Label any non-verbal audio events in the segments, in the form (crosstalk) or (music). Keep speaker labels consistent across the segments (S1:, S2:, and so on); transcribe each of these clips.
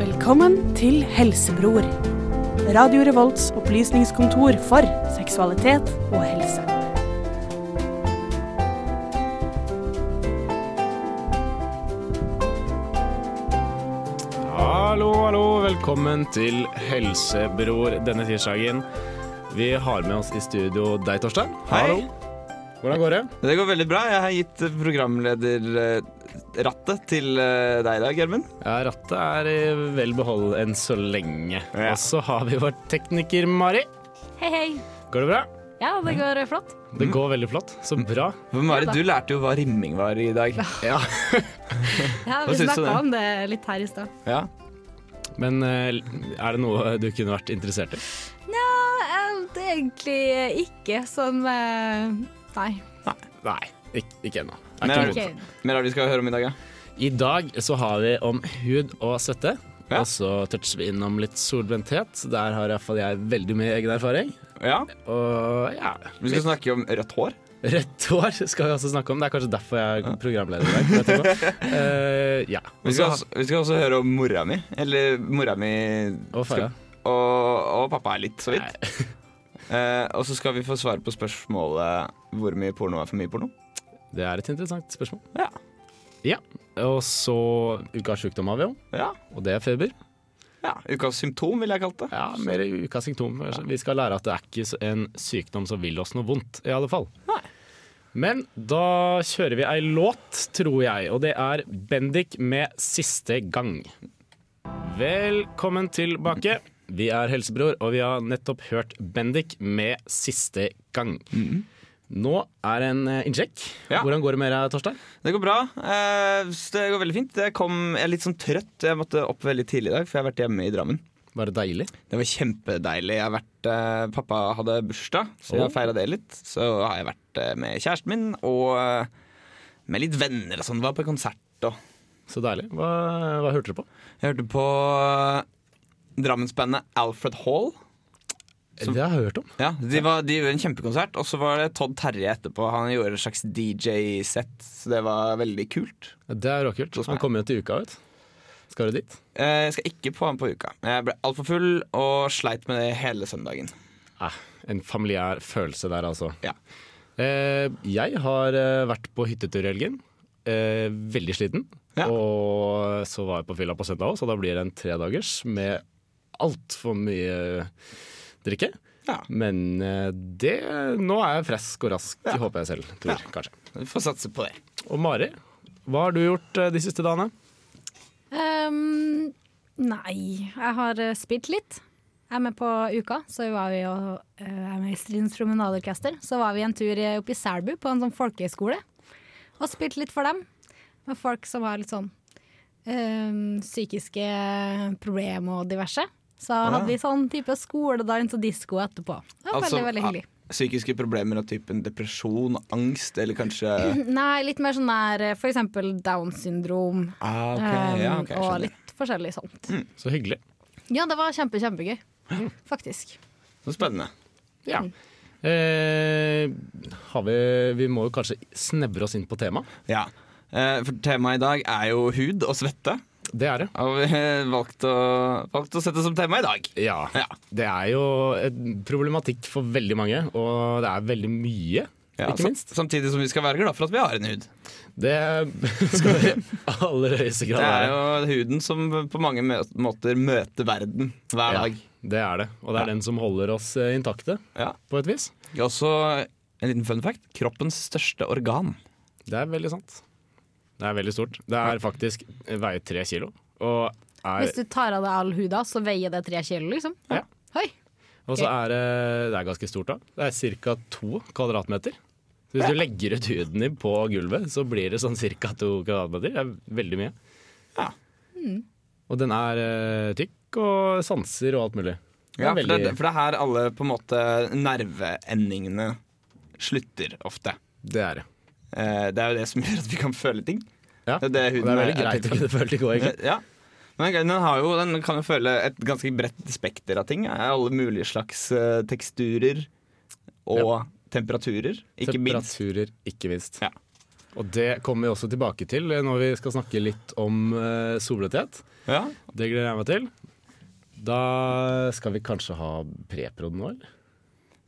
S1: Velkommen til Helsebror. Radio Revolts opplysningskontor for seksualitet og helse.
S2: Hallo, hallo. Velkommen til Helsebror denne tirsdagen. Vi har med oss i studio deg, Torstein.
S3: Hei.
S2: Hallo. Hvordan går det?
S3: Det går veldig bra. Jeg har gitt eh, programlederrattet til eh, deg i dag, Gjermund.
S2: Ja, Rattet er i vel behold enn så lenge.
S3: Ja.
S2: Og så har vi vår tekniker Mari.
S4: Hei, hei.
S2: Går det bra?
S4: Ja, det går flott.
S2: Det går veldig flott. Så bra.
S3: For Mari, du lærte jo hva rimming var i dag.
S2: Ja.
S4: Ja,
S3: Hva
S4: vi
S3: syns du
S4: snakka
S3: det?
S4: om det litt her i stad.
S3: Ja.
S2: Men eh, er det noe du kunne vært interessert i?
S4: Nja, eh, det er egentlig ikke sånn eh, Nei.
S2: Nei, ikke, ikke ennå. Er ikke
S3: Men er
S2: moden.
S3: det-
S4: Ok.
S3: Mer av det vi skal høre om i dag, ja.
S2: I dag så har vi om hud og svette.
S3: Ja.
S2: Og så toucher vi innom litt solbrenthet. Der har iallfall jeg veldig mye egen erfaring.
S3: ja.
S2: Og ja,
S3: Vi skal snakke om rødt hår.
S2: rødt hår skal vi også snakke om. Det er kanskje derfor jeg er programleder i dag. vet jeg
S3: (laughs)
S2: ikke. Eh, ja.
S3: Vi skal, også, vi skal også høre om mora mi. Eller mora mi
S2: Og fara.
S3: skal- og, og pappa er litt, så vidt.
S2: Nei.
S3: (laughs) Eh, og så skal vi få svare på spørsmålet hvor mye porno er for mye porno.
S2: Det er et interessant spørsmål.
S3: Ja.
S2: Ja. Og så ukas sjukdom har vi jo,
S3: Ja.
S2: og det er feber.
S3: ja. Ukas symptom, ville jeg kalt det.
S2: Ja, Mer ukas symptom. Vi skal lære at det er ikke en sykdom som vil oss noe vondt, i alle fall.
S3: Nei.
S2: Men da kjører vi ei låt, tror jeg, og det er Bendik med 'Siste gang'. Velkommen tilbake. Vi er Helsebror, og vi har nettopp hørt Bendik med 'Siste gang'. Nå er en eh, innsjekk.
S3: Mhm. Ja.
S2: Hvordan går det med deg, Torstein?
S3: Det går bra. Eh, så det går veldig fint. Jeg, kom, jeg er litt sånn trøtt. Jeg måtte opp veldig tidlig i dag, for jeg har vært hjemme i Drammen.
S2: Var det deilig?
S3: Det var kjempedeilig. Jeg har vært, eh, pappa hadde bursdag, så jeg
S2: Oh.
S3: har feira det litt. Så har jeg vært eh, med kjæresten min og eh, med litt venner og sånn. Var på konsert og
S2: Så deilig. Hva, hva hørte du på?
S3: Jeg hørte på eh, Drammensbandet Alfred Hall.
S2: Det har jeg hørt om.
S3: Ja, de, var, de gjorde en kjempekonsert, og så var det Todd Terje etterpå. Han gjorde et slags DJ-sett, så det var veldig kult.
S2: Det er råkult.
S3: Hos meg.
S2: Han kommer jo til uka, vet du. Skal du dit?
S3: Eh, Jeg skal ikke på han på uka. Jeg ble altfor full og sleit med det hele søndagen.
S2: Eh, en familiær følelse der, altså.
S3: Ja.
S2: Eh, jeg har eh, vært på hyttetur i helgen. Eh, veldig sliten.
S3: Ja.
S2: Og så var jeg på fylla på søndag òg, så da blir det en tredagers med altfor mye drikke.
S3: Ja.
S2: Men eh, det Nå er jeg frisk og rask, håper jeg selv. Tror, kanskje.
S3: Vi får satse på det.
S2: Og Mari, hva har du gjort eh, de siste dagene?
S4: Ehm, nei. Jeg har eh, spilt litt. Jeg er med på Uka, så var vi og, eh, jeg er med i Strindens Promenadeorkester. Så var vi en tur i- opp i Selbu på en sånn folkehøyskole og spilte litt for dem. Med folk som har litt sånn ehm, psykiske problemer og diverse. Så hadde vi sånn type skoledans og disko etterpå. Det var
S3: Altså,
S4: veldig, veldig hyggelig.
S3: ah, Psykiske problemer av typen depresjon, angst eller kanskje
S4: Nei, litt mer sånn der for eksempel Down syndrom
S3: ah, ok,
S4: ehm,
S3: ja, ok, jeg
S4: og
S3: skjønner.
S4: litt forskjellig sånt.
S2: Så hyggelig.
S4: Ja, det var kjempe, kjempegøy. Faktisk. Mm.
S3: Så spennende.
S2: Ja. Eh, har vi, vi må jo kanskje snevre oss inn på temaet.
S3: Ja. Eh, For temaet i dag er jo hud og svette.
S2: Det er det.
S3: Og vi har valgt å, valgt å sette som tema i dag.
S2: Ja.
S3: Ja.
S2: Det er jo en problematikk for veldig mange, og det er veldig mye,
S3: Ja,
S2: ikke
S3: altså. sam-
S2: minst.
S3: Samtidig som vi skal være glad for at vi har en hud.
S2: Det (laughs) skal vi i aller høyeste grad
S3: Det er
S2: være.
S3: jo huden som på mange mø- måter møter verden hver
S2: Ja,
S3: dag.
S2: det er det. Og det er den som holder oss eh, intakte,
S3: Ja.
S2: på et vis.
S3: Og Også en liten fun fact. Kroppens største organ.
S2: Det er veldig sant. Det er veldig stort. Det er faktisk eh, veier tre kilo. Og er
S4: Hvis du tar av deg all huda, så veier det tre kilo, liksom.
S2: Ja.
S4: Oi.
S2: Og så er det, det er ganske stort, da. Det er ca. to kvadratmeter. Så hvis du legger ut huden din på gulvet, så blir det sånn ca. to kvadratmeter. Det er veldig mye.
S3: Ja.
S2: Og den er eh, tykk og sanser og alt mulig. Den
S3: Ja,
S2: er
S3: for det,
S2: veldig,
S3: for det er her alle på en måte nerveendingene slutter ofte.
S2: det er det.
S3: Eh, Det er jo det som (laughs) gjør at vi kan føle ting.
S2: Ja.
S3: Det er det
S2: og
S3: huden
S2: det er
S3: er-
S2: veldig
S3: er
S2: greit
S3: til
S2: å kunne føle det går, egentlig.
S3: Ja. Men den, har jo, den kan jo føle et ganske bredt spekter av ting. Eh, Alle mulige slags eh, teksturer og temperaturer, (laughs) ikke minst.
S2: Temperaturer, ikke minst.
S3: Ja.
S2: Og det kommer vi også tilbake til eh, når vi skal snakke litt om eh, solbletthet.
S3: Ja.
S2: Det gleder jeg meg til. Da skal vi kanskje ha preprod nå, eller?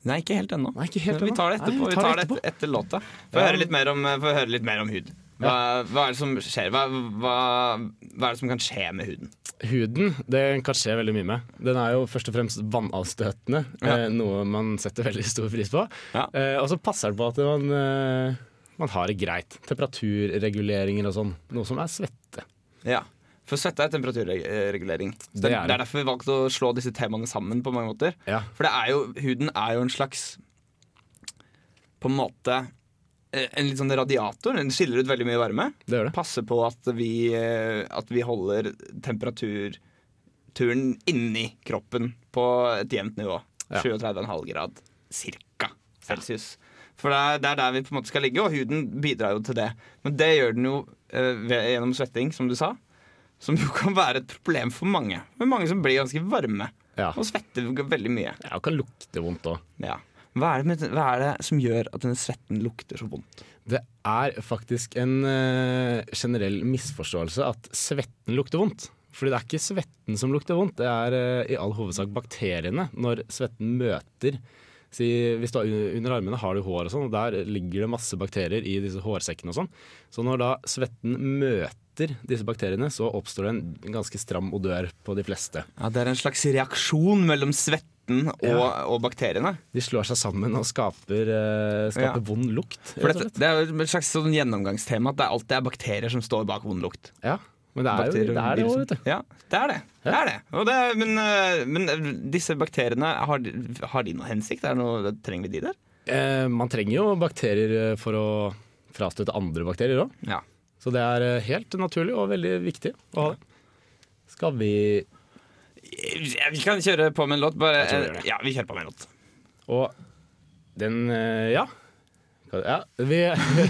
S3: Nei, ikke helt ennå.
S2: Nei, ikke helt
S3: Men Vi
S2: ennå.
S3: tar det etterpå.
S2: Nei,
S3: vi tar det etter, etter låta. Få
S2: Ja.
S3: høre litt mer om, eh, få høre litt mer om hud. Hva, hva er det som skjer? Hva, hva, hva er det som kan skje med huden?
S2: Huden den kan skje veldig mye med. Den er jo først og fremst vannavstøtende,
S3: Ja.
S2: eh, noe man setter veldig stor pris på.
S3: Ja.
S2: Eh, og så passer det på at man, eh, man har det greit. Temperaturreguleringer og sånn. Noe som er svette.
S3: Ja. For svette er temperaturregulering. Så
S2: Det
S3: det, det,
S2: er
S3: er
S2: det.
S3: derfor vi valgte å slå disse temaene sammen på mange måter.
S2: Ja.
S3: For det er jo, huden er jo en slags På en måte eh, en litt sånn radiator. Den skiller ut veldig mye varme.
S2: Det gjør det.
S3: Passe på at vi, eh, at vi holder temperaturturen inni kroppen på et jevnt nivå.
S2: Ja.
S3: 37,5 grad cirka celsius. For det er, det er der vi på en måte skal ligge, og huden bidrar jo til det. Men det gjør den jo eh, ved, gjennom svetting, som du sa. Som jo (laughs) kan være et problem for mange. Men mange som blir ganske varme
S2: Ja.
S3: og svetter veldig mye.
S2: Ja, og kan lukte vondt òg.
S3: Ja. Hva, er det med, hva er det som gjør at denne svetten lukter så vondt?
S2: Det er faktisk en eh, generell misforståelse at svetten lukter vondt. Fordi det er ikke svetten som lukter vondt, det er eh, i all hovedsak bakteriene når svetten møter si, Hvis du har un- under armene har du hår og sånn, og der ligger det masse bakterier i disse hårsekkene og sånn. Så når da svetten møter disse bakteriene, så oppstår det en ganske stram odør på de fleste.
S3: Ja, Det er en slags reaksjon mellom svetten og,
S2: Ja.
S3: og bakteriene.
S2: De slår seg sammen og skaper, eh, skaper
S3: Ja.
S2: vond lukt.
S3: For
S2: rett og
S3: dette,
S2: slett.
S3: det er jo et slags sånn gjennomgangstema at det er alltid er bakterier som står bak vond lukt.
S2: Ja, men det er jo
S3: Bakterier og
S2: det er det
S3: virus.
S2: òg, vet du.
S3: Ja, det er det. det, er det. Og det men, øh, men disse bakteriene, har, de- har de noe hensikt? Er det noe, trenger vi de der?
S2: Eh, man trenger jo bakterier eh, for å frastøte andre bakterier òg.
S3: Ja.
S2: Så det er eh, helt naturlig og veldig viktig å ha det. Skal vi
S3: Ja, Vi kan kjøre på med en låt. Bare,
S2: Jeg tror vi gjør det.
S3: ja, vi kjører på med en låt.
S2: Og den eh, Ja. ja vi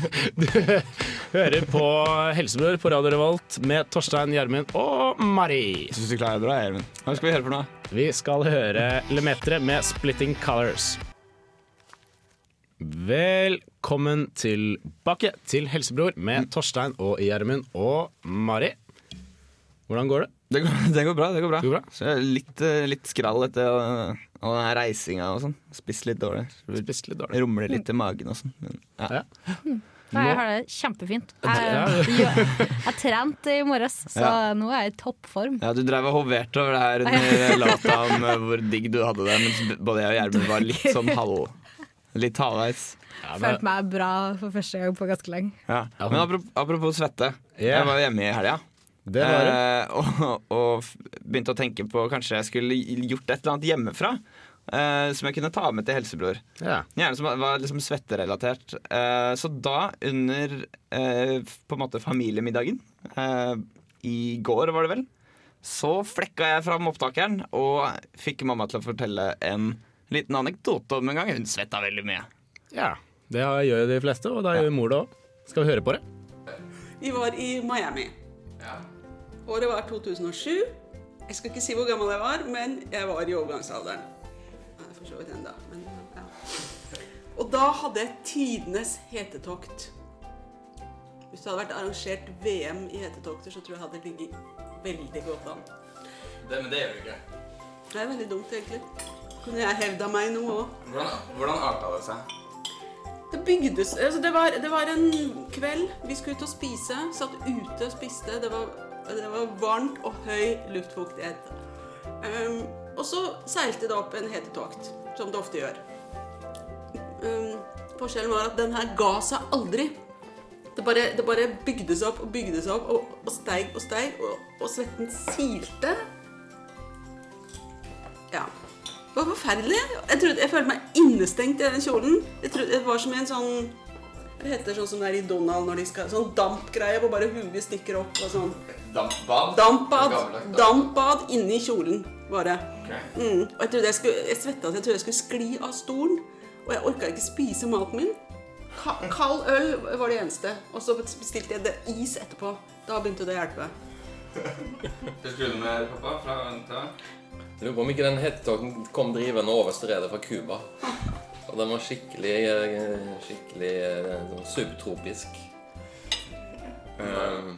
S2: (laughs) du hører på Helsebror på Radio Revolt med Torstein, Gjermund og Mari.
S3: Jeg syns du klarer det bra, Gjermund. Hva skal vi høre for noe?
S2: Vi skal høre Lemetre med 'Splitting Colors'. Velkommen tilbake til Helsebror med Torstein og Gjermund og Mari. Hvordan går det?
S3: Det går, (laughs) det går bra. det går bra,
S2: Det går bra.
S3: Så jeg er litt, eh, litt skrall etter øh, all den reisinga og sånn. Spist litt dårlig.
S2: Spist litt dårlig.
S3: Rumler litt i magen og sånn. Men, ja.
S2: Ja.
S4: Nei, jeg har det kjempefint.
S2: Ja.
S4: Jeg, jeg, jeg trente i morges, så
S3: Ja.
S4: nå er jeg i toppform.
S3: Ja, Du drev og hoverte over det her under låta om eh, hvor digg du hadde det, mens b- både jeg og Gjermund var litt sånn halv... Litt halvveis.
S2: Ja, men-
S4: Følte meg bra for første gang på ganske lenge.
S3: Ja. Men apropos, apropos svette.
S2: Ja.
S3: Jeg var jo hjemme i helga.
S2: det var det.
S3: Eh, og, og f- begynte å tenke på kanskje jeg skulle gjort et eller annet hjemmefra. eh, som jeg kunne ta med til helsebror.
S2: Ja.
S3: Gjerne som var liksom svetterelatert. Eh, så da, under eh, på en måte familiemiddagen eh, I går, var det vel, så flekka jeg fram opptakeren og fikk mamma til å fortelle en liten anekdote om en gang hun svetta veldig mye.
S2: ja. Det gjør jo de fleste, og da gjør mor det òg. Skal vi høre på det?
S5: Vi var i Miami. Året var 2007. Jeg skal ikke si hvor gammel jeg var, men jeg var i overgangsalderen. Ja, for så vidt enda, men ja. Og da hadde jeg tidenes hetetokt. Hvis det hadde vært arrangert VM i hetetokter, så tror jeg jeg hadde ligget veldig godt an.
S3: Det, men det gjør du ikke.
S5: Det er veldig dumt, egentlig. Kunne jeg hevda meg noe òg?
S3: Hvordan, hvordan arta det seg?
S5: Det bygdes altså det, var, det var en kveld vi skulle ut og spise. Satt ute og spiste. Det var, det var varmt og høy luftfuktighet. Ehm, og så seilte det opp en hetetokt, som det ofte gjør. Ehm, forskjellen var at den her ga seg aldri. Det bare, det bare bygde seg opp og bygde seg opp og, og steig og steig, og, og svetten silte. Ja. Det var forferdelig. Jeg, trodde, jeg følte meg innestengt i den kjolen. Jeg trodde, det var som i en sånn Hva heter det sånn som det er i Donald når de skal Sånn dampgreie hvor bare huet stikker opp og sånn.
S3: Dampbad?
S5: Dampbad.
S3: Gammeldags
S5: Dampbad inni kjolen, bare.
S3: Ok.
S5: Mm. Og jeg trodde jeg skulle Jeg svetta så jeg trodde jeg skulle skli av stolen. Og jeg orka ikke spise maten min. Ka kald øl var det eneste. Og så bestilte jeg det is etterpå. Da begynte det å hjelpe.
S3: Du skulle med pappa fra NTA?
S6: Lurer på om ikke den hetetokken kom drivende over stredet fra Cuba. Og den var skikkelig, eh, skikkelig eh, sånn subtropisk. eh,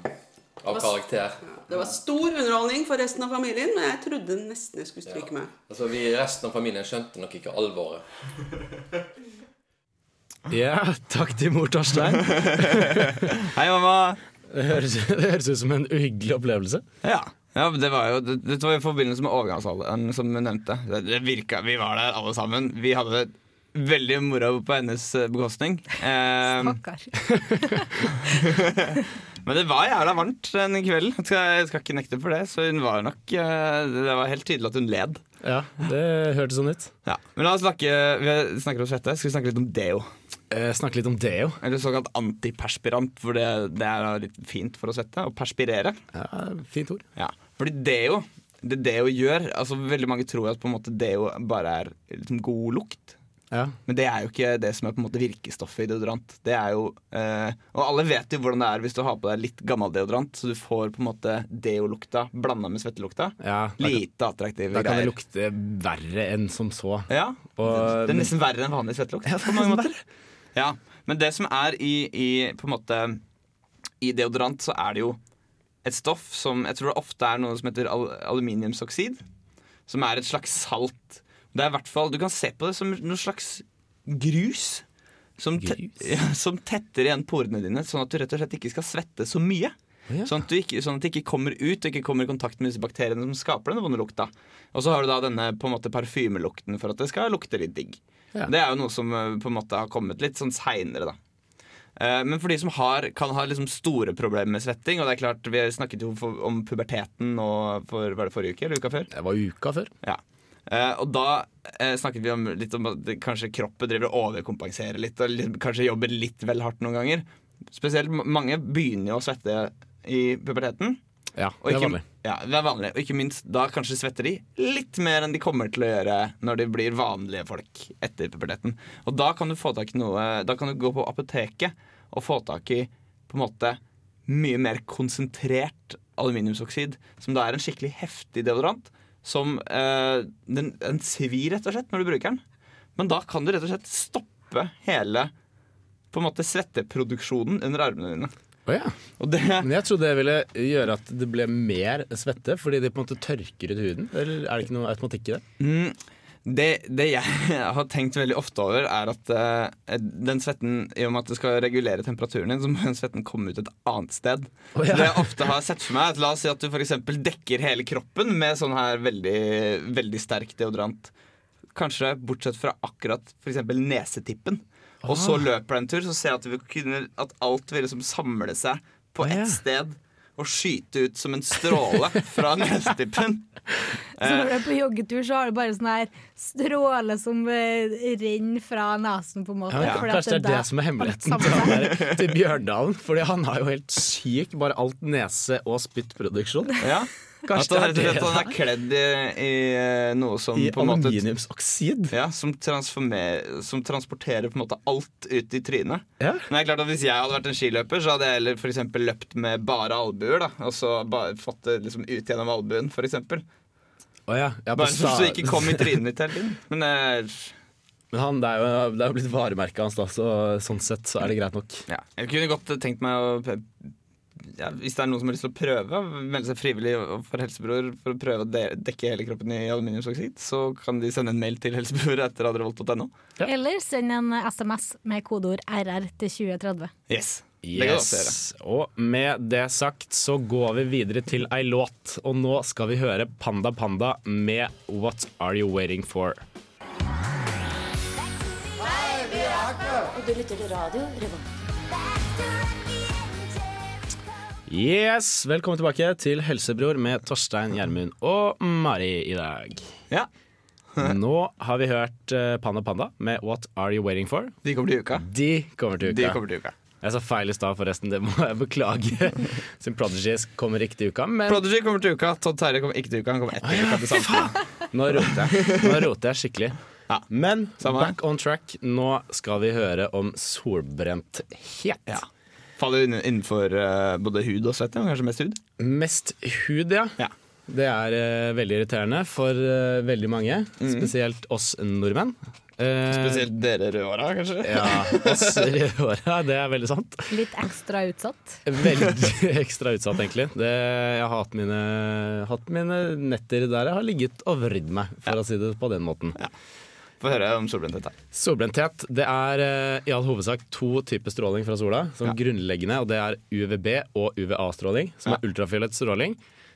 S6: av karakter.
S5: Det var stor underholdning for resten av familien, men jeg trodde nesten jeg skulle stryke med.
S6: Altså, vi Resten av familien skjønte nok ikke alvoret.
S2: Ja, takk til mor (laughs) Torstein.
S3: Hei, mamma.
S2: Det høres, det høres ut som en uhyggelig opplevelse.
S3: Ja. ja men det var jo det, det var i forbindelse med overgangsalderen, som hun nevnte. Det, det virka, Vi var der alle sammen. Vi hadde det veldig moro på hennes eh, bekostning. Eh,
S4: Pokker.
S3: men det var jævla varmt den kvelden. Jeg skal, jeg skal ikke nekte for det. Så hun var nok eh, Det var helt tydelig at hun led.
S2: Ja, det hørtes sånn ut.
S3: Ja. Men la oss snakke Vi snakker om svette. Skal vi snakke litt om deo?
S2: Eh, snakke litt om deo.
S3: Eller såkalt antiperspirant, for det, det er da litt fint for å svette. Å perspirere.
S2: Ja, fint ord.
S3: Ja, fordi deo, det deo gjør altså Veldig mange tror at på en måte deo bare er liksom god lukt.
S2: Ja.
S3: Men det er jo ikke det som er på en måte virkestoffet i deodorant. Det er jo, eh, Og alle vet jo hvordan det er hvis du har på deg litt gammel deodorant, så du får på en måte deolukta blanda med svettelukta.
S2: Ja, da kan-
S3: Lite attraktive
S2: Da kan det
S3: greier.
S2: lukte verre enn som så.
S3: Ja,
S2: Og-
S3: Det er nesten verre enn vanlig svettelukt. på
S2: (laughs)
S3: mange måter. Ja, Men det som er i, i på en måte I deodorant så er det jo et stoff som jeg tror det ofte er noe som heter al aluminiumsoksid. Som er et slags salt. Det er i hvert fall, Du kan se på det som noe slags grus. Som, te
S2: Grus?
S3: (laughs) ja, som tetter igjen porene dine, sånn at du rett og slett ikke skal svette så mye.
S2: Ja.
S3: Sånn, at du ikke, sånn at det ikke kommer ut og ikke kommer i kontakt med disse bakteriene som skaper denne vonde lukta. Og så har du da denne på en måte parfymelukten for at det skal lukte litt digg.
S2: Ja.
S3: Det er jo noe som eh, på en måte har kommet litt sånn seinere, da. Eh, Men for de som har, kan ha liksom store problemer med svetting Og det er klart, Vi snakket jo for, om puberteten nå for hva er det, forrige uke eller uka før.
S2: Det var uka før.
S3: Ja. Eh, og da eh, snakket vi om, litt om at det- kanskje kroppen driver og overkompenserer litt, og litt, kanskje jobber litt vel hardt noen ganger. Spesielt ma- mange begynner jo å svette i puberteten.
S2: Ja,
S3: og
S2: det
S3: ikke-
S2: var med.
S3: Ja, det er vanlig. Og ikke minst, da kanskje svetter de litt mer enn de kommer til å gjøre når de blir vanlige folk etter puberteten. Og da kan du få tak i noe Da kan du gå på apoteket og få tak i på en måte mye mer konsentrert aluminiumsoksid, som da er en skikkelig heftig deodorant. Som eh, den, den svir, rett og slett, når du bruker den. Men da kan du rett og slett stoppe hele på en måte svetteproduksjonen under armene dine.
S2: Å ja.
S3: Og det,
S2: Men jeg trodde det ville gjøre at det ble mer svette, fordi det på en måte tørker ut huden. Eller er det ikke noe automatikk i det?
S3: det, det jeg (laughs) har tenkt veldig ofte over, er at eh, den svetten, i og med at det skal regulere temperaturen din, så må den svetten komme ut et annet sted.
S2: Å, ja.
S3: Så det jeg ofte har sett for meg, er at la oss si at du f.eks. dekker hele kroppen med sånn her veldig, veldig sterk deodorant. Kanskje bortsett fra akkurat f.eks. nesetippen. Og så
S2: Ah.
S3: løper jeg en tur, så ser jeg at, vi kunne, at alt vil liksom samle seg
S2: Å,
S3: på
S2: ja.
S3: ett sted. Og skyte ut som en stråle fra (laughs) nesetippen.
S4: (laughs) Så når du er på joggetur, så har du bare sånn her stråle som eh, renner fra nesen, på en måte.
S2: Ja,
S4: fordi at
S2: Kanskje det er det
S4: der
S2: som er hemmeligheten
S4: alt
S2: til,
S4: sammen
S2: han der- til Bjørndalen. Fordi han har jo helt syk bare alt nese- og spyttproduksjon.
S3: Ja,
S2: Kanskje
S3: Kanskje at han,
S2: det er
S3: rett
S2: det
S3: og slett, han er kledd i, i eh, noe som
S2: I
S3: på en måte
S2: aluminiumsoksid.
S3: ja, som, transformer- som transporterer på en måte alt ut i trynet.
S2: Ja.
S3: Men det er klart at Hvis jeg hadde vært en skiløper, Så hadde jeg heller for eksempel løpt med bare albuer. da Og så bare fått det liksom ut gjennom albuen, for eksempel.
S2: Å ja. ja, på
S3: Bare så
S2: sta-
S3: det ikke kom i trynet ditt hele tiden. Men eh,
S2: Men han, det, er jo, det er jo blitt varemerket hans, da, så sånn sett så er det greit nok.
S3: ja, jeg kunne godt tenkt meg å ja, Hvis det er noen som har lyst til å prøve, melde seg frivillig for Helsebror for å prøve å de dekke hele kroppen i aluminiumsoksid, så kan de sende en mail til helsebror etter adrevolt.no.
S2: Ja.
S4: Eller send en eh, SMS med kodeord RR til 2030.
S3: Yes. Det kan du også gjøre.
S2: Yes. Og med det sagt så går vi videre til ei låt, og nå skal vi høre Panda Panda med What Are You Waiting For?
S7: Du lytter til radio Revolt.
S2: Yes, Velkommen tilbake til Helsebror med Torstein, Gjermund og Mari i dag.
S3: Ja,
S2: Nå har vi hørt eh, Panda Panda med What Are You Waiting For?
S3: De kommer til uka.
S2: De kommer til
S3: De
S2: uka.
S3: kommer til uka.
S2: Jeg sa feil i stad, forresten. Det må jeg beklage. Siden Prodigies kommer ikke til uka, men
S3: Prodigy kommer til uka. Todd Terje kommer ikke til uka. Han kommer etter uka til samtiden.
S2: nå roter jeg, nå roter jeg skikkelig.
S3: Ja.
S2: Men
S3: Samme her.
S2: back on track. Nå skal vi høre om solbrenthet.
S3: Ja. Faller inn- innenfor eh, både hud og svette. men Kanskje mest hud.
S2: Mest hud, ja.
S3: Ja.
S2: Det er eh, veldig irriterende for eh, veldig mange, spesielt oss nordmenn. Eh,
S3: Mhm. Spesielt dere rødhåra, kanskje?
S2: ja, oss rødhåra, det er veldig sant.
S4: Litt ekstra utsatt.
S2: Veldig (laughs) ekstra utsatt, egentlig. Det, jeg har hatt mine, hatt mine netter der jeg har ligget og vridd meg, for å si det på den måten.
S3: Få høre om solbrenthet her.
S2: Solbrenthet det er eh, i all hovedsak to typer stråling fra sola som grunnleggende, og det er UVB og UVA-stråling, som er ultrafiolett stråling.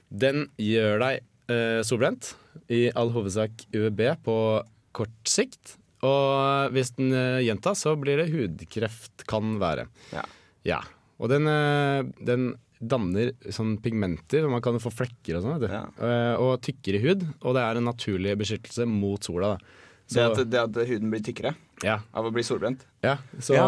S2: Den gjør deg eh, solbrent, i all hovedsak UVB på kort sikt. Og hvis den eh, gjentas, så blir det hudkreft kan være.
S3: Ja.
S2: Ja. Og den, eh, den danner sånn pigmenter, og man kan jo få flekker og sånn, vet du.
S3: Ja.
S2: Eh, Og tykkere hud, og det er en naturlig beskyttelse mot sola, da.
S3: Det at, det at huden blir tykkere
S2: ja,
S3: av å bli solbrent.
S2: ja, så,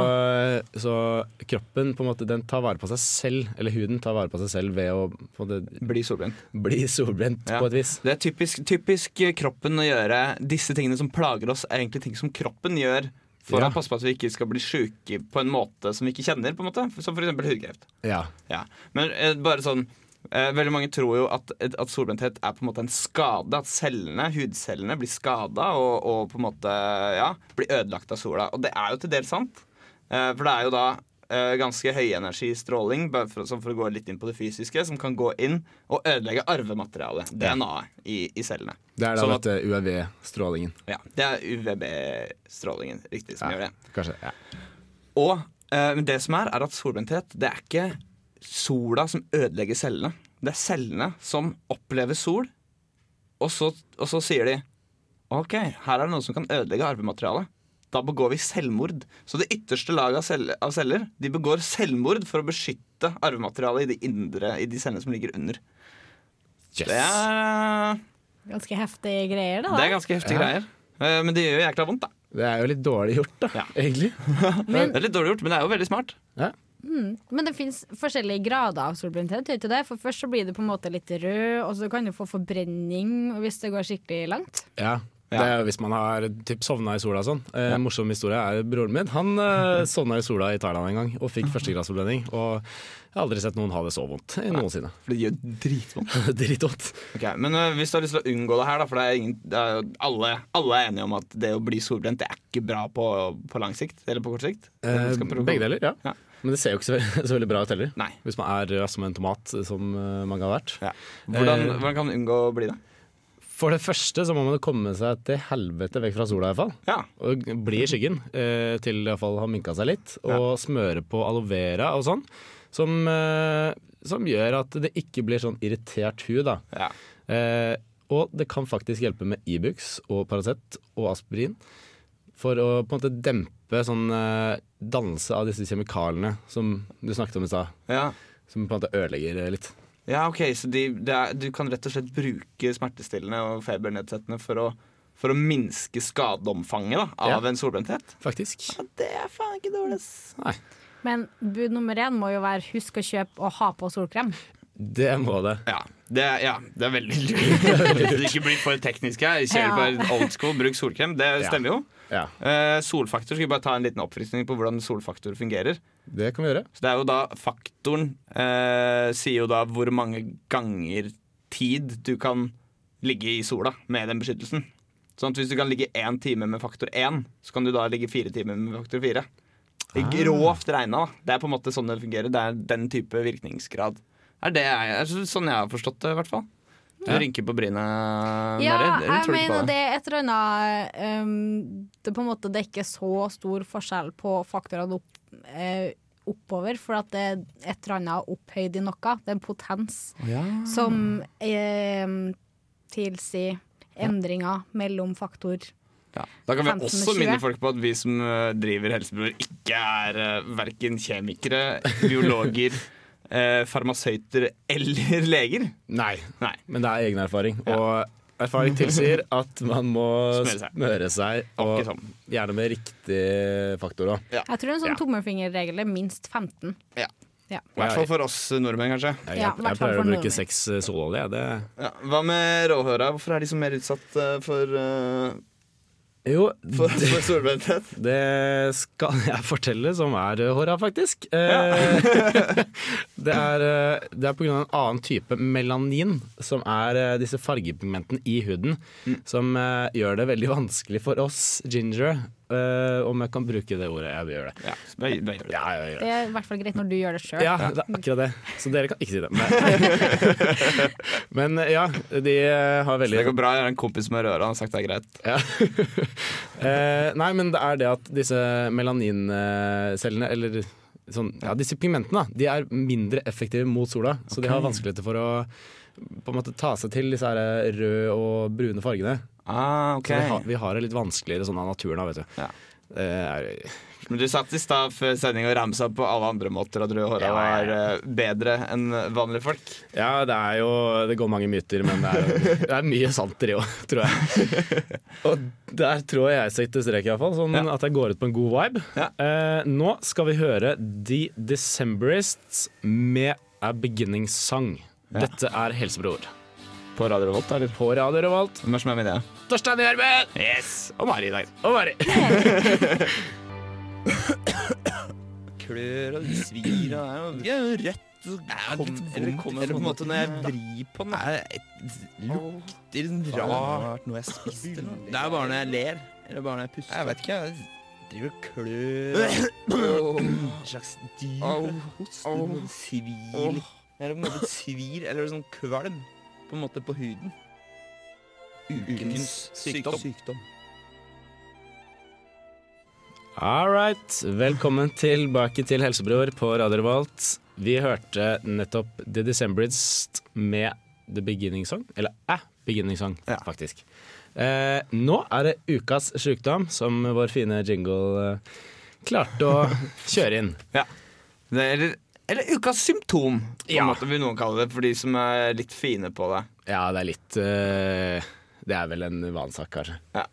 S2: så kroppen på en måte, den tar vare på seg selv, eller huden tar vare på seg selv ved å på en måte,
S3: Bli solbrent.
S2: bli solbrent
S3: Ja.
S2: på et vis.
S3: Det er typisk, typisk eh, kroppen å gjøre. Disse tingene som plager oss, er egentlig ting som kroppen gjør for
S2: Ja.
S3: å passe på at vi ikke skal bli sjuke på en måte som vi ikke kjenner. på en måte Som f.eks. hudkreft.
S2: Ja.
S3: Ja. Men eh, bare sånn eh, Veldig mange tror jo at, at solbrenthet er på en måte en skade. At cellene, hudcellene blir skada og, og på en måte ja, blir ødelagt av sola. Og det er jo til dels sant. Eh, for det er jo da eh, ganske høyenergi stråling, bare for, sånn for å gå litt inn på det fysiske, som kan gå inn og ødelegge arvematerialet, DNA-et, i, i cellene.
S2: Det er da
S3: Sånn at-
S2: dette UAV-strålingen.
S3: Ja, det er UVB-strålingen riktig som gjør det.
S2: Kanskje. Ja.
S3: Og eh, men det som er, er at solbrenthet Det er ikke sola som ødelegger cellene. Det er cellene som opplever sol, og så, og så sier de OK, her er det noe som kan ødelegge arvematerialet. Da begår vi selvmord. Så det ytterste laget av, cell, av celler de begår selvmord for å beskytte arvematerialet i de indre, i de cellene som ligger under.
S2: Yes.
S3: Det er, eh,
S4: Ganske heftige greier, da.
S3: det er ganske heftige greier. Eh, Men det gjør jo jækla vondt, da.
S2: Det er jo litt dårlig gjort, da,
S3: Ja.
S2: egentlig.
S4: Men-
S3: Det er litt dårlig gjort, men det er jo veldig smart.
S2: Ja.
S4: Men det fins forskjellige grader av solbrenthet. gjør ikke det? For Først så blir du på en måte litt rød, og så kan du få forbrenning hvis det går skikkelig langt.
S2: Ja. Det
S3: Ja.
S2: er jo hvis man har typ, sovna i sola og sånn. Eh, morsom historie er broren min. Han
S3: (laughs)
S2: eh, sovna i sola i Thailand en gang og fikk førstegradsforbrenning. Og jeg har aldri sett noen ha det så vondt eh, noensinne. (laughs)
S3: For det gjør dritvondt.
S2: Dritvondt.
S3: Ok, Men ø, hvis du har lyst til å unngå det her, da, for det er ingen, det er, jo- alle, alle er enige om at det å bli solbrent det er ikke bra på, på lang sikt. Eller på kort sikt.
S2: Eh,
S3: Det skal prøve-
S2: begge deler, ja.
S3: Ja.
S2: Men det ser jo ikke så, ve- (laughs) så veldig bra ut heller.
S3: Nei.
S2: Hvis man er rød som en tomat, som eh, mange har vært.
S3: Ja. Hvordan,
S2: Eh,
S3: hvordan kan man unngå å bli det?
S2: For det første så må man jo komme seg til helvete vekk fra sola, i hvert fall.
S3: Ja.
S2: Og bli i skyggen, eh, til det iallfall har minka seg litt. Og smøre på aloe vera og sånn. Som, eh, som gjør at det ikke blir sånn irritert hud, da.
S3: ja.
S2: Eh, og det kan faktisk hjelpe med Ibux og Paracet og aspirin for å på en måte dempe sånn eh, dannelse av disse kjemikaliene som du snakket om i stad.
S3: Ja.
S2: Som på en måte ødelegger eh, litt.
S3: ja, ok, så de, det er, du kan rett og slett bruke smertestillende og febernedsettende for å, for å minske skadeomfanget da,
S2: Ja.
S3: av en solbrenthet?
S2: Faktisk.
S3: Ja, det er faen ikke dårlig, ass.
S4: Men bud nummer én må jo være husk å kjøpe og ha på solkrem.
S2: Det må det.
S3: Ja, det, er- ja, det er veldig lurt. Hvis
S2: (laughs)
S3: du ikke blir for teknisk her, kjør på old school, bruk solkrem. Det
S2: Ja.
S3: stemmer jo.
S2: Ja,
S3: Eh, solfaktor skal vi bare ta en liten oppfriskning på hvordan solfaktor fungerer.
S2: det kan vi gjøre.
S3: Så det er jo da Faktoren eh, sier jo da hvor mange ganger tid du kan ligge i sola med den beskyttelsen. Sånn at Hvis du kan ligge én time med faktor én, så kan du da ligge fire timer med faktor fire. I Grovt regna. da. Det er på en måte sånn det fungerer. Det er den type virkningsgrad. Er det jeg, er det sånn jeg har forstått det, i hvert fall. Du
S2: Ja.
S3: rynker på brynet,
S4: Ja,
S3: Mari. Eller
S4: jeg
S3: tror du ikke på det?
S4: mener det er et eller annet ehm, Det er på en måte det er ikke så stor forskjell på faktorene opp, eh, oppover, for at det er et eller annet opphøyd i noe. Det er en potens som ehm, tilsier endringer mellom faktor
S3: Ja. Da kan vi
S4: 15 og
S3: også
S4: 20.
S3: minne folk på at vi som eh, driver Helsebror, ikke er uh, verken kjemikere, (laughs) biologer, eh, farmasøyter eller leger.
S2: Nei,
S3: Nei.
S2: men det er egen erfaring. Og erfaring tilsier at man må
S3: Smøre seg.
S2: smøre seg,
S3: Akkurat
S2: og
S3: sånn.
S2: gjerne med riktig faktor òg.
S4: Jeg tror en sånn
S3: Ja.
S4: tommelfingerregel er minst 15.
S3: Ja.
S4: Ja.
S3: I hvert fall for oss nordmenn, kanskje.
S2: Jeg,
S4: Ja,
S2: jeg, pleier
S4: hvertfall for
S2: å
S4: nordmenn.
S2: bruke seks eh, sololje. Det
S3: Ja. Hva med råhøra? Hvorfor er de så mer utsatt eh, for eh,
S2: Jo,
S3: (laughs) For, for solbrenthet.
S2: Det skal (laughs) jeg fortelle, som er eh, håra, faktisk. Eh, det, er, eh, det er på grunn av en annen type melanin, som er eh, disse fargepigmentene i huden, som eh, gjør det veldig vanskelig for oss ginger, eh, om jeg kan bruke det ordet. Jeg vil gjøre det.
S3: Ja, bare, bare gjør det.
S2: Ja, jeg vil gjøre det.
S4: Det er i hvert fall greit når du gjør det sjøl.
S2: Ja, det er akkurat det. Så dere kan ikke si det. Men, men eh, (laughs) ja, de eh, har
S3: Det
S2: veldig
S3: går bra. Jeg har en kompis med røra. Han har sagt det er greit.
S2: Ja. (laughs) eh, nei, men det er det at disse melanincellene, eller sånn, ja, disse pigmentene, da, de er mindre effektive mot sola. Så de har vanskeligheter for å på en måte ta seg til disse her røde og brune fargene.
S3: Ah,
S2: Så vi, har, vi har det litt vanskeligere sånn av naturen, da, vet du.
S3: Ja.
S2: Det er,
S3: Men du satt i stad før sending og ramsa opp på alle andre måter at røde
S2: Ja,
S3: håra
S2: ja,
S3: var eh, bedre enn vanlige folk.
S2: ja, det er jo Det går mange myter, men det er, det er mye sant i det òg, tror jeg.
S3: (laughs)
S2: Og der tror jeg jeg setter strek, iallfall. Sånn
S3: Ja.
S2: at jeg går ut på en god vibe.
S3: Ja.
S2: Eh, nå skal vi høre The Decemberists med A Beginning Song. Dette er Helsebror.
S3: På Radio Revolt, eller?
S2: På Radio Revolt,
S3: Hvem er som er med i det?
S2: Torstein Gjermen
S3: Yes!
S2: og Mari i dag. Og Mari.
S3: Klør og svir og det er jo rødt. Eller kommer på en måte når jeg vrir på den. lukter rart noe jeg spiste. Det er bare når jeg ler. Eller bare når jeg puster. Jeg vet ikke, jeg driver og klør. En slags dyr host. Noe svir. litt. Eller på en måte et svir, eller sånn kvalm på en måte på huden. Ukens sykdom.
S2: All right. Velkommen tilbake til Helsebror på Radio Revolt. Vi hørte nettopp The Decemberists med The Beginning Song. Eller æ, Beginning Song,
S3: Ja.
S2: faktisk. Eh, nå er det ukas sjukdom, som vår fine jingle eh, klarte
S3: (laughs)
S2: å kjøre inn.
S3: Det er, eller, eller ukas symptom, på en
S2: Ja.
S3: måte vil noen kalle det, for de som er litt fine på det.
S2: Ja, det er litt eh, Det er vel en vanesak, kanskje.
S3: Ja.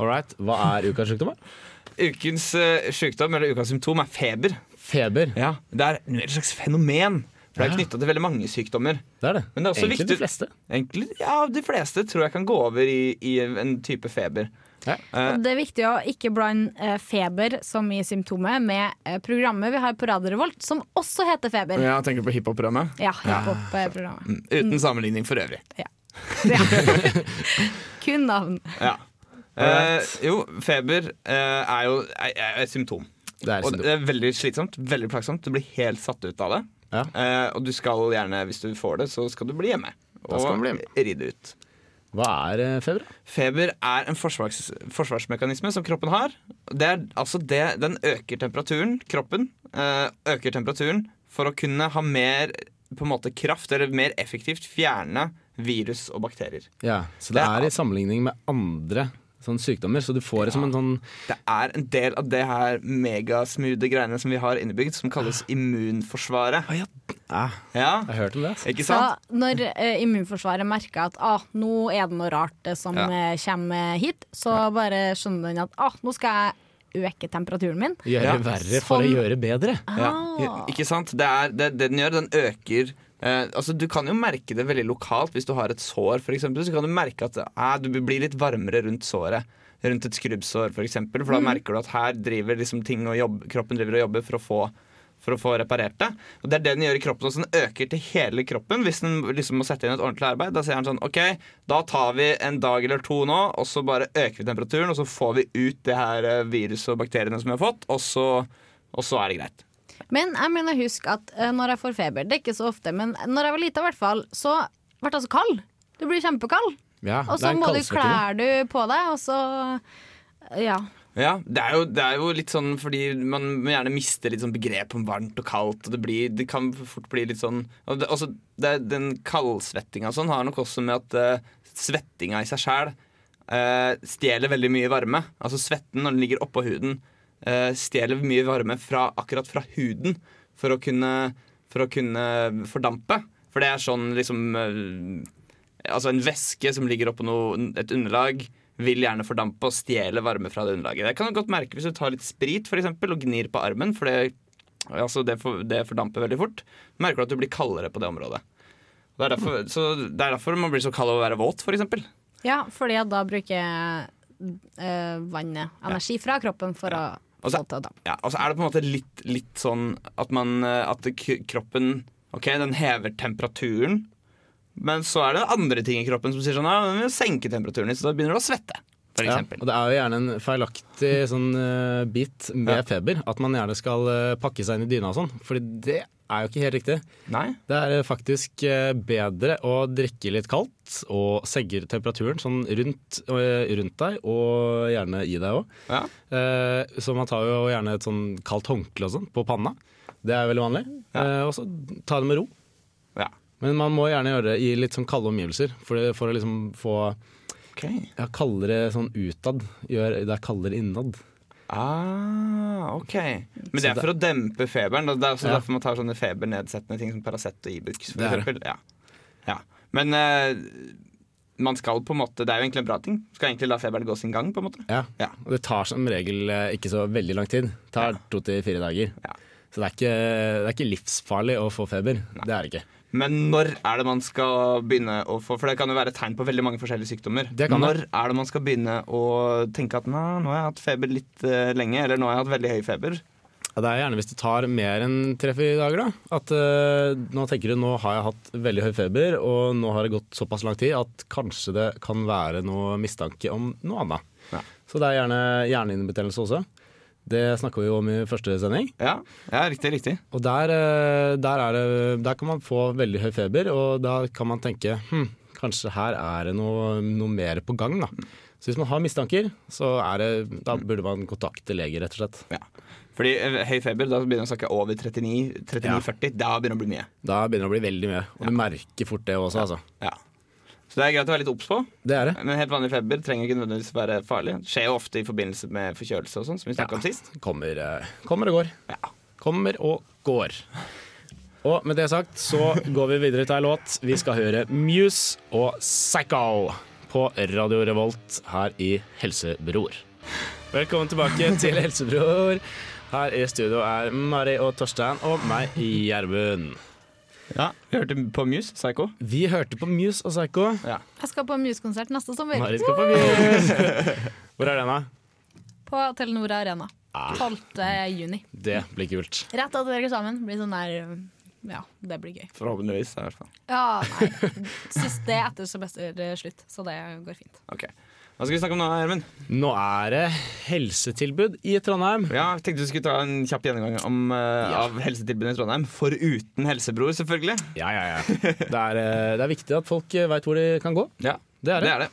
S2: All right. Hva er ukas sjukdom? da?
S3: Ukens eh, sykdom, eller ukas symptom, er feber.
S2: Feber.
S3: Det er et slags fenomen. For det
S2: Ja.
S3: er knytta til veldig mange sykdommer.
S2: Det er det.
S3: Men det er også
S2: Egentlig
S3: viktig-
S2: de fleste.
S3: Egentlig, ja, De fleste tror jeg kan gå over i, i en type feber.
S2: Ja.
S3: Eh,
S4: Det er viktig å ikke blande eh, feber som i symptomet med eh, programmet vi har på Radio Revolt, som også heter Feber. Ja,
S3: ja, tenker du på hiphop-programmet?
S4: hiphop-programmet.
S2: Mm.
S3: Uten sammenligning for øvrig.
S4: Kun navn.
S3: Ja. Eh, jo, feber eh, er jo er, er et symptom.
S2: Det er
S3: Eh, Og det er veldig slitsomt, veldig plagsomt. Du blir helt satt ut av det.
S2: Ja.
S3: Eh, og du skal gjerne, hvis du får det, så skal du bli hjemme.
S2: Da skal du bli hjemme.
S3: ride ut.
S2: Hva er eh, feber? da?
S3: Feber er en forsvars, forsvarsmekanisme som kroppen har. Det er, altså det, den øker temperaturen, kroppen eh, øker temperaturen for å kunne ha mer på en måte, kraft, eller mer effektivt fjerne virus og bakterier.
S2: Ja, så det
S3: Det er-
S2: er i sammenligning med andre sånne sykdommer, så du får det som en sånn
S3: Det er en del av det her megasmoothie greiene som vi har innebygd, som kalles immunforsvaret.
S2: Ah. ja. Ah.
S3: Ja,
S2: Jeg har hørt om det. altså. ass.
S3: ikke
S4: Så
S3: sant?
S4: når eh, immunforsvaret merker at ah, nå er det noe rart eh, som
S3: Ja.
S4: eh, kommer hit, så bare skjønner den at ah, nå skal jeg øke temperaturen min.
S2: Gjøre
S3: Ja.
S2: verre for
S4: Sånn.
S2: å gjøre bedre.
S3: Ja.
S4: Ah.
S3: Ikke sant? Det, er, det, det den gjør, den øker eh, altså Du kan jo merke det veldig lokalt hvis du har et sår, for eksempel, Så kan du merke at eh, du blir litt varmere rundt såret. Rundt et skrubbsår, for eksempel. For da merker du at her driver liksom ting og jobb, kroppen driver og jobber for å få for å få reparert det. Og Det er det den gjør i kroppen også. Den øker til hele kroppen hvis den liksom må sette inn et ordentlig arbeid. Da sier han sånn OK, da tar vi en dag eller to nå, og så bare øker vi temperaturen, og så får vi ut det her eh, viruset og bakteriene som vi har fått, og så, og så er det greit.
S4: Men jeg mener husk at eh, når jeg får feber, det er ikke så ofte, men når jeg var lita i hvert fall, så ble jeg så kald. Du blir kjempekald.
S2: Ja, det er
S4: Og så
S2: en
S4: må du
S2: kaldsvekkende.
S4: klær du på deg, og så Ja.
S3: Ja, det er, jo, det er jo litt sånn fordi man må gjerne mister litt sånn begrep om varmt og kaldt. Og det, blir, det kan fort bli litt sånn og det, også, det, er- Den kaldsvettinga og sånn har nok også med at eh, svettinga i seg sjæl eh, stjeler veldig mye varme. Altså svetten når den ligger oppå huden, eh, stjeler mye varme fra, akkurat fra huden for å kunne, for å kunne fordampe. For det er sånn liksom eh, Altså En væske som ligger oppå noe- et underlag, vil gjerne fordampe og stjele varme fra det underlaget. Det kan du godt merke hvis du tar litt sprit for eksempel, og gnir på armen, for det, altså det, for, det fordamper veldig fort. Merker du at du blir kaldere på det området. Det er derfor, så det er derfor man blir så kald av å være våt, f.eks.
S4: ja fordi at da bruker eh, vannet energi fra kroppen for å
S3: Og så-
S4: få til å dampe.
S3: Ja, og så er det på en måte litt, litt sånn at, man, eh, at k- kroppen Ok, den hever temperaturen, men så er det andre ting i kroppen som sier sånn Ja, den vil senke temperaturen litt, så da begynner du å svette, for
S2: Ja,
S3: eksempel.
S2: og det er jo gjerne en feilaktig sånn, eh, bit med
S3: Ja.
S2: feber, at man gjerne skal eh, pakke seg inn i dyna og sånn. Fordi det er jo ikke helt riktig.
S3: Nei?
S2: Det er eh, faktisk eh, bedre å drikke litt kaldt og segge temperaturen sånn rundt, eh, rundt deg, og gjerne i deg òg.
S3: Ja.
S2: Eh, Så man tar jo gjerne et sånn kaldt håndkle og sånn på panna. Det er veldig vanlig. Eh, Og så ta det med ro.
S3: ja.
S2: Men man må gjerne gjøre det i litt sånn kalde omgivelser, for, for å liksom få
S3: Ok.
S2: ja, kaldere sånn utad. Gjør det er kaldere innad.
S3: Ah, ok. Men
S2: Mm.
S3: det
S2: Så
S3: er
S2: det-
S3: for å dempe feberen. og Det er også
S2: Ja.
S3: derfor man tar sånne febernedsettende ting som Paracet og Ibux. for
S2: Det er det.
S3: eksempel. Ja. Ja. Men eh, man skal på en måte Det er jo egentlig en bra ting. Skal egentlig la feberen gå sin gang, på en måte.
S2: Ja.
S3: Ja.
S2: Og det tar som regel eh, ikke så veldig lang tid. Det tar to til fire dager.
S3: Ja.
S2: Så det er, ikke, det er ikke livsfarlig å få feber. Det er det ikke.
S3: Men når er det man skal begynne å få For det kan jo være tegn på veldig mange forskjellige sykdommer.
S2: Det kan
S3: når
S2: det.
S3: er det man skal begynne å tenke at Nei, nå har jeg hatt feber litt eh, lenge, eller nå har jeg hatt veldig høy feber?
S2: Ja, det er gjerne hvis det tar mer enn tre-fire dager. da. At eh, Nå tenker du nå har jeg hatt veldig høy feber, og nå har det gått såpass lang tid at kanskje det kan være noe mistanke om noe annet.
S3: Ja.
S2: Så det er gjerne hjernehinnebetennelse også. Det snakka vi jo om i første sending.
S3: Ja, ja riktig, riktig.
S2: Og der, eh, der, er det, der kan man få veldig høy feber, og da kan man tenke hm, kanskje her er det noe, noe mer på gang. da. Så hvis man har mistanker, så er det, da burde man kontakte lege, rett og slett.
S3: Ja. Fordi eh, høy feber, da begynner man å snakke over
S2: Ja.
S3: 39-40. Da begynner det å bli mye.
S2: Da begynner det å bli veldig mye, og du merker fort det også, altså.
S3: Ja. Så det er greit å være litt obs på.
S2: Det er det.
S3: Men helt vanlig feber trenger ikke nødvendigvis være farlig. Det skjer jo ofte i forbindelse med forkjølelse og sånn, som vi snakket om sist.
S2: Kommer, eh, kommer og går.
S3: Ja.
S2: Kommer og går. Og med det sagt så går vi videre til ei låt. Vi skal høre Muse og Psycho på Radio Revolt her i Helsebror. Velkommen tilbake til Helsebror. Her i studio er Mari og Torstein og meg, Gjermund.
S3: ja. Vi hørte på Muse, Psycho.
S2: Vi hørte på Muse og Psycho.
S3: Ja.
S4: Jeg skal på Muse-konsert neste sommer.
S2: Mari skal på Muse. Hvor er den, da?
S4: På Telenor Arena. 12. juni.
S2: Det blir kult.
S4: Rett etter vi er sammen. Blir sånn der Ja, det blir gøy.
S3: Forhåpentligvis, i hvert fall.
S4: Ja, nei. Sist det er etter semesterslutt, så det går fint.
S3: Ok. Hva skal vi snakke om nå, Hermen?
S2: Nå er det helsetilbud i Trondheim.
S3: Ja, jeg tenkte vi skulle ta en kjapp gjennomgang om, eh, av helsetilbudet i Trondheim. Foruten helsebror, selvfølgelig.
S2: Ja, ja, ja. Det er, eh, det er viktig at folk veit hvor de kan gå.
S3: Ja,
S2: Det er det.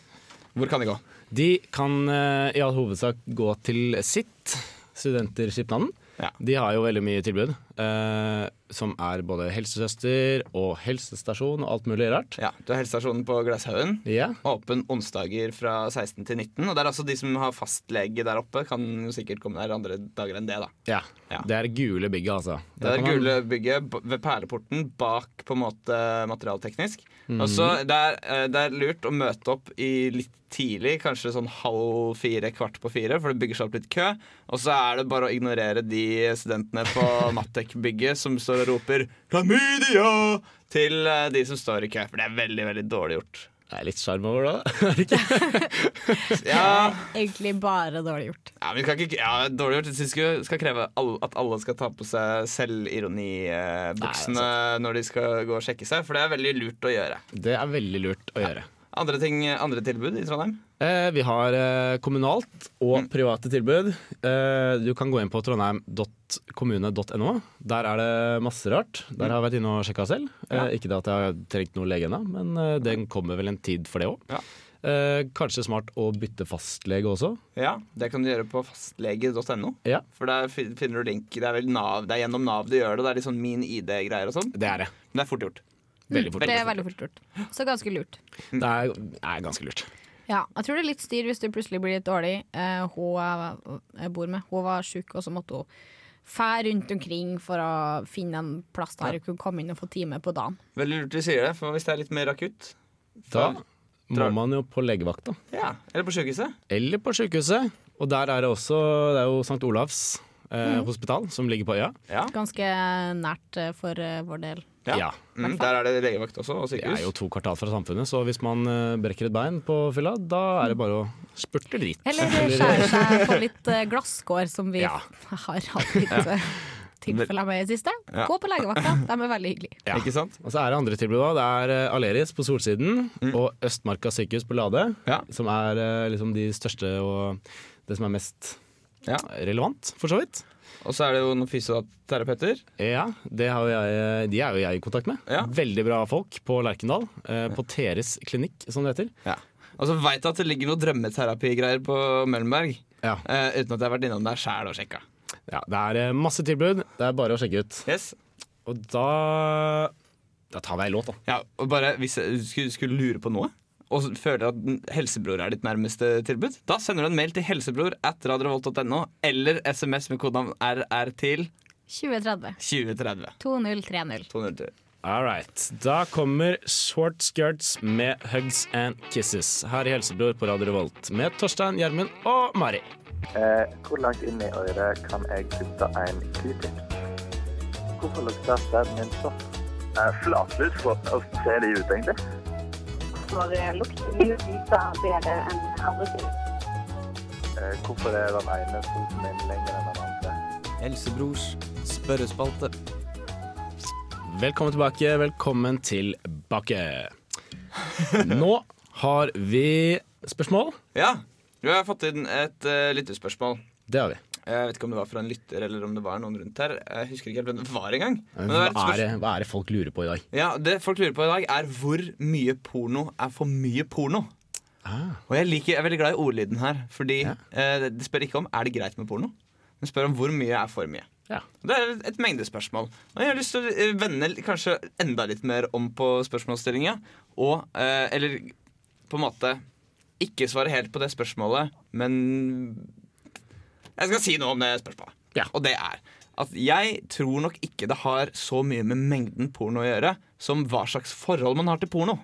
S3: Hvor kan det gå?
S2: De kan eh, i all hovedsak gå til sitt, Studenterskipnaden.
S3: Ja.
S2: De har jo veldig mye tilbud, eh, som er både helsesøster og helsestasjon og alt mulig rart.
S3: Ja, Du har helsestasjonen på Glasshaugen.
S2: Ja,
S3: Åpen onsdager fra 16 til 19. Og det er altså de som har fastlege der oppe, kan jo sikkert komme der andre dager enn det. da
S2: ja.
S3: Ja.
S2: Det er gule bygget, altså.
S3: Det
S2: Der
S3: er det
S2: kan man-
S3: gule bygget b- ved perleporten bak på en måte materialteknisk.
S2: Mm.
S3: Og så det, er, eh, det er lurt å møte opp i litt tidlig, kanskje sånn halv fire, kvart på fire, for det bygger seg opp litt kø. Og så er det bare å ignorere de studentene
S2: (laughs)
S3: på Matek-bygget som står og roper 'klamydia' til eh, de som står i kø. For det er veldig, veldig dårlig gjort.
S2: Det er litt sjarm over det, da. (laughs) Er det ikke?
S3: Ja,
S4: Egentlig bare dårlig gjort.
S3: ja, men vi kan ikke, ja dårlig gjort. Jeg syns skal kreve all- at alle skal ta på seg selvironibuksene når de skal gå og sjekke seg, for det er veldig lurt å gjøre.
S2: Det er veldig lurt å gjøre.
S3: Andre, ting, andre tilbud i Trondheim?
S2: Eh, vi har eh, kommunalt og private tilbud. Eh, du kan gå inn på trondheim.kommune.no. Der er det masse rart. Der har jeg vært inne og sjekka selv.
S3: Ja.
S2: Eh, ikke det at jeg har trengt noe lege ennå, men eh, det kommer vel en tid for det òg.
S3: Ja.
S2: Eh, kanskje smart å bytte fastlege også.
S3: Ja, det kan du gjøre på fastlege.no.
S2: Ja,
S3: For der fin- finner du link. Det er, vel NAV, det er gjennom Nav du gjør det. Det er litt sånn min ID-greier og sånn.
S2: det er det.
S3: Men det er fort gjort.
S2: Veldig fort.
S4: Det er veldig fort gjort. Så ganske lurt.
S2: Det er, er ganske lurt.
S4: Ja, jeg tror det er litt styr hvis du plutselig blir litt dårlig. Eh, hun jeg- jeg bor med, hun var syk, og så måtte hun fære rundt omkring for å finne en plass der hun kunne komme inn og få time på dagen.
S3: Veldig lurt du sier det, for hvis det er litt mer akutt
S2: Da
S3: for-
S2: må man jo på legevakta.
S3: Ja, Eller på sjukehuset.
S2: Eller på sykehuset. Og der er det også Det er jo St. Olavs eh, hospital som ligger på øya.
S3: Ja.
S4: Ganske nært eh, for eh, vår del.
S2: Ja.
S3: Mm, der er det legevakt også, og
S2: Det er
S3: sykehus.
S2: jo to kvartal fra samfunnet, så hvis man eh, brekker et bein på fylla, da er det bare å spurte drit.
S4: Eller skjære seg på litt eh, glasskår, som vi
S2: Ja.
S4: (laughs) har hatt litt
S3: (laughs)
S4: eh, tilfeller med i det siste.
S3: Ja.
S4: Gå på legevakta, de er veldig hyggelige.
S2: Ja.
S3: Ikke sant?
S2: Og
S3: Mm.
S2: så er det andre tilbud òg. Det er eh, Aleris på Solsiden og Østmarka sykehus på Lade.
S3: Ja.
S2: Som er eh, liksom de største og det som er mest
S3: Ja.
S2: relevant, for så vidt.
S3: Og så er det jo noen fysioterapeuter.
S2: Ja, det har jo jeg, eh, De er jo jeg i kontakt med.
S3: Ja.
S2: Veldig bra folk på Lerkendal. eh, På Deres klinikk, som det heter.
S3: Ja. Og så veit jeg at det ligger noe drømmeterapigreier på Møllenberg.
S2: Ja.
S3: eh, uten at jeg har vært innom der sjæl og sjekka.
S2: ja, Det er eh, masse tilbud. Det er bare å sjekke ut.
S3: Yes.
S2: Og da Da tar vi ei låt, da.
S3: Ja, og bare Hvis jeg skulle, skulle lure på noe, og føler at den- Helsebror er ditt nærmeste tilbud, da sender du en mail til helsebror at radiorevolt.no eller SMS med kodenavn RR til
S4: 2030.
S3: 2030.
S4: 2030.
S3: 203.
S2: All right. Da kommer Short Skirts med Hugs and Kisses her i Helsebror på Radio Revolt med Torstein, Gjermund og Mari.
S8: Eh, hvor langt inn i øret kan jeg putte en q-tip? Hvorfor lukter stedet min sånn? Eh, Flatlus, hvordan ser de ut egentlig?
S9: for eh, lukt blir vita bedre enn andre ting.
S8: Eh, hvorfor er den ene foten min lengre enn den andre?
S3: Helsebrors spørrespalte.
S2: Velkommen tilbake. Velkommen tilbake. Nå har vi spørsmål.
S3: Ja, vi har fått inn et eh, lytterspørsmål.
S2: Det har vi.
S3: Jeg vet ikke om det var fra en lytter eller om det var noen rundt her. Jeg husker ikke helt hvem det var engang. Men det
S2: Eh, Hva
S3: var et
S2: er,
S3: spørsmål-
S2: det, hva er det folk lurer på i dag?
S3: Ja, Det folk lurer på i dag, er hvor mye porno er for mye porno.
S2: Ah.
S3: Og jeg, liker, jeg er veldig glad i ordlyden her. Fordi eh, De spør ikke om er det greit med porno, men spør om hvor mye er for mye.
S2: Ja.
S3: Og Det er et mengdespørsmål. Og Jeg har lyst til å eh, vende l- kanskje enda litt mer om på spørsmålsstillinga. Og, eh, eller på en måte ikke svare helt på det spørsmålet, men jeg skal si noe om det spørsmålet.
S2: Ja.
S3: Og det er at jeg tror nok ikke det har så mye med mengden porno å gjøre som hva slags forhold man har til porno.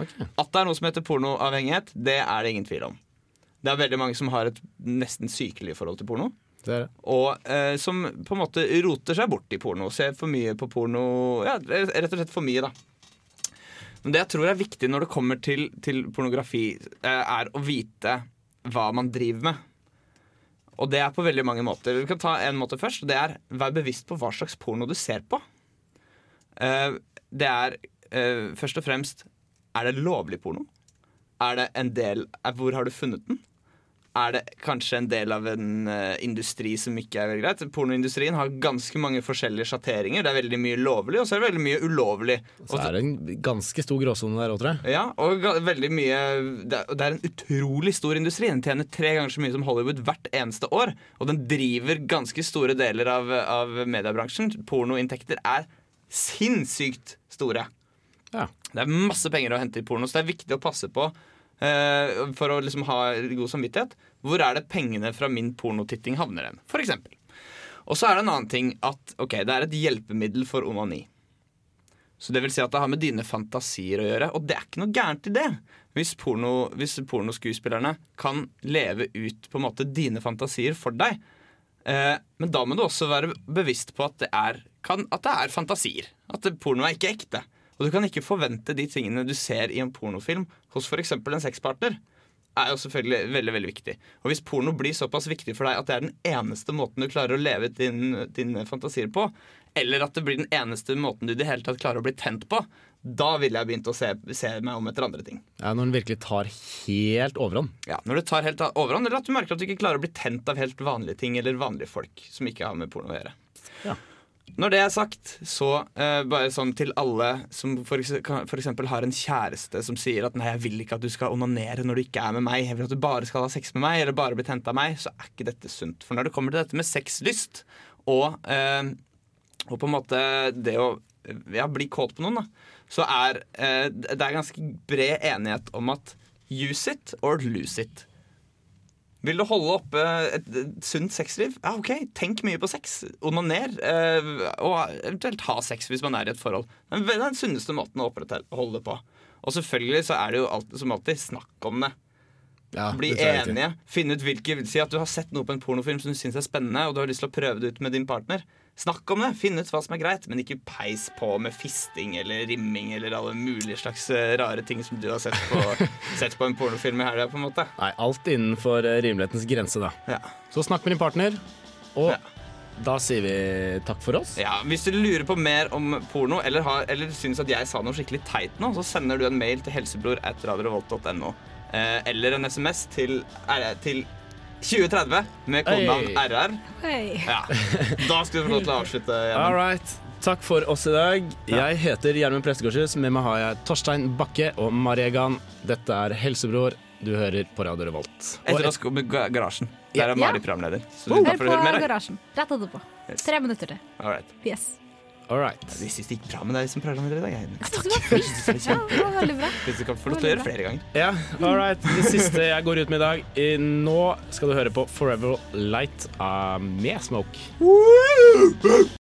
S3: At det er noe som heter pornoavhengighet, det er det ingen tvil om. Det er veldig mange som har et nesten sykelig forhold til porno.
S2: Det er det.
S3: Og eh, som på en måte roter seg bort i porno. Ser for mye på porno Ja, rett og slett for mye, da. Men det jeg tror er viktig når det kommer til, til pornografi, eh, er å vite hva man driver med. Og det er på veldig mange måter. Vi kan ta en måte først. og Det er vær bevisst på hva slags porno du ser på. Eh, det er eh, først og fremst Er det lovlig porno? Er det en del eh, Hvor har du funnet den? er det kanskje en del av en eh, industri som ikke er veldig greit. Pornoindustrien har ganske mange forskjellige sjatteringer. Det er veldig mye lovlig, og så er det veldig mye ulovlig. Og,
S2: Så er det en ganske stor gråsone der òg, tror jeg.
S3: ja, og ga- veldig mye det er, det er en utrolig stor industri. Den tjener tre ganger så mye som Hollywood hvert eneste år. Og den driver ganske store deler av, av mediebransjen. Pornoinntekter er sinnssykt store.
S2: Ja.
S3: Det er masse penger å hente i porno, så det er viktig å passe på eh, for å liksom ha god samvittighet. Hvor er det pengene fra min pornotitting havner hen? For eksempel. Og så er det en annen ting at ok, det er et hjelpemiddel for onani. Så det vil si at det har med dine fantasier å gjøre, og det er ikke noe gærent i det. Hvis, porno, hvis pornoskuespillerne kan leve ut på en måte dine fantasier for deg. Eh, men da må du også være bevisst på at det er, kan, at det er fantasier. At det- porno er ikke ekte. Og du kan ikke forvente de tingene du ser i en pornofilm hos f.eks. en sexpartner. er jo selvfølgelig veldig, veldig viktig. Og hvis porno blir såpass viktig for deg at det er den eneste måten du klarer å leve ut din, dine fantasier på, eller at det blir den eneste måten du i det hele tatt klarer å bli tent på, da ville jeg begynt å se, se meg om etter andre ting.
S2: Ja, når den virkelig tar helt overhånd.
S3: Ja, Når det tar helt av- overhånd, eller at du merker at du ikke klarer å bli tent av helt vanlige ting eller vanlige folk som ikke har med porno å gjøre.
S2: Ja.
S3: Når det er sagt, så eh, bare sånn til alle som for, ekse- kan- for eksempel har en kjæreste som sier at 'nei, jeg vil ikke at du skal onanere når du ikke er med meg', 'jeg vil at du bare skal ha sex med meg', eller 'bare bli tent av meg', så er ikke dette sunt. For når det kommer til dette med sexlyst og, eh, og på en måte det å ja, bli kåt på noen, da, så er eh, det er ganske bred enighet om at use it or lose it. Vil du holde oppe et, et sunt sexliv? Ja, ok, Tenk mye på sex. Onaner. Eh, og eventuelt ha sex hvis man er i et forhold. Men Det er den sunneste måten å opprettholde det på. Og selvfølgelig så er det jo alt, som alltid snakk om det.
S2: Ja,
S3: Bli
S2: det tror jeg er
S3: enige. Finne ut hvilke Si at du har sett noe på en pornofilm som du syns er spennende, og du har lyst til å prøve det ut med din partner. Snakk om det, finn ut hva som er greit, men ikke peis på med fisting eller rimming eller alle mulige slags eh, rare ting som du har sett
S2: (laughs)
S3: på, sett på en pornofilm i helga, på en måte.
S2: Nei, alt innenfor eh, rimelighetens grense, da.
S3: Ja.
S2: Så snakk med din partner, og
S3: Ja.
S2: da sier vi takk for oss.
S3: Ja, Hvis du lurer på mer om porno, eller, har, eller syns at jeg sa noe skikkelig teit nå, så sender du en mail til helsebror at radiorevolt.no. Eh, eller en SMS til, R- til 2030 med kodenavn
S2: Oi.
S3: RR.
S4: Hei.
S3: Ja. Da skal du få lov til å avslutte.
S2: All
S3: Gjermund.
S2: right. Takk for oss i dag. Jeg heter Gjermund Prestegårdshus. Med meg har jeg Torstein Bakke og Maregan. Dette er Helsebror. Du hører på Radio Revolt. Og
S3: Etter oss kommer Ga- Garasjen.
S2: Ja.
S3: Der er Mari programleder. Så Oh, du kan
S4: Hør
S3: få
S4: på
S3: høre mer.
S4: Garasjen. Rett etterpå. Tre minutter til.
S3: All right.
S4: Yes.
S2: all right.
S3: Vi syns det gikk bra med deg som programleder i dag. Gjermund.
S4: Jeg synes det var flink. (laughs) Ja, det var veldig bra.
S3: Hvis du kan få lov til å gjøre flere ganger.
S2: Ja, all right. Det siste jeg går ut med i dag. I- eh, Nå skal du høre på Forever Light av- med Smoke.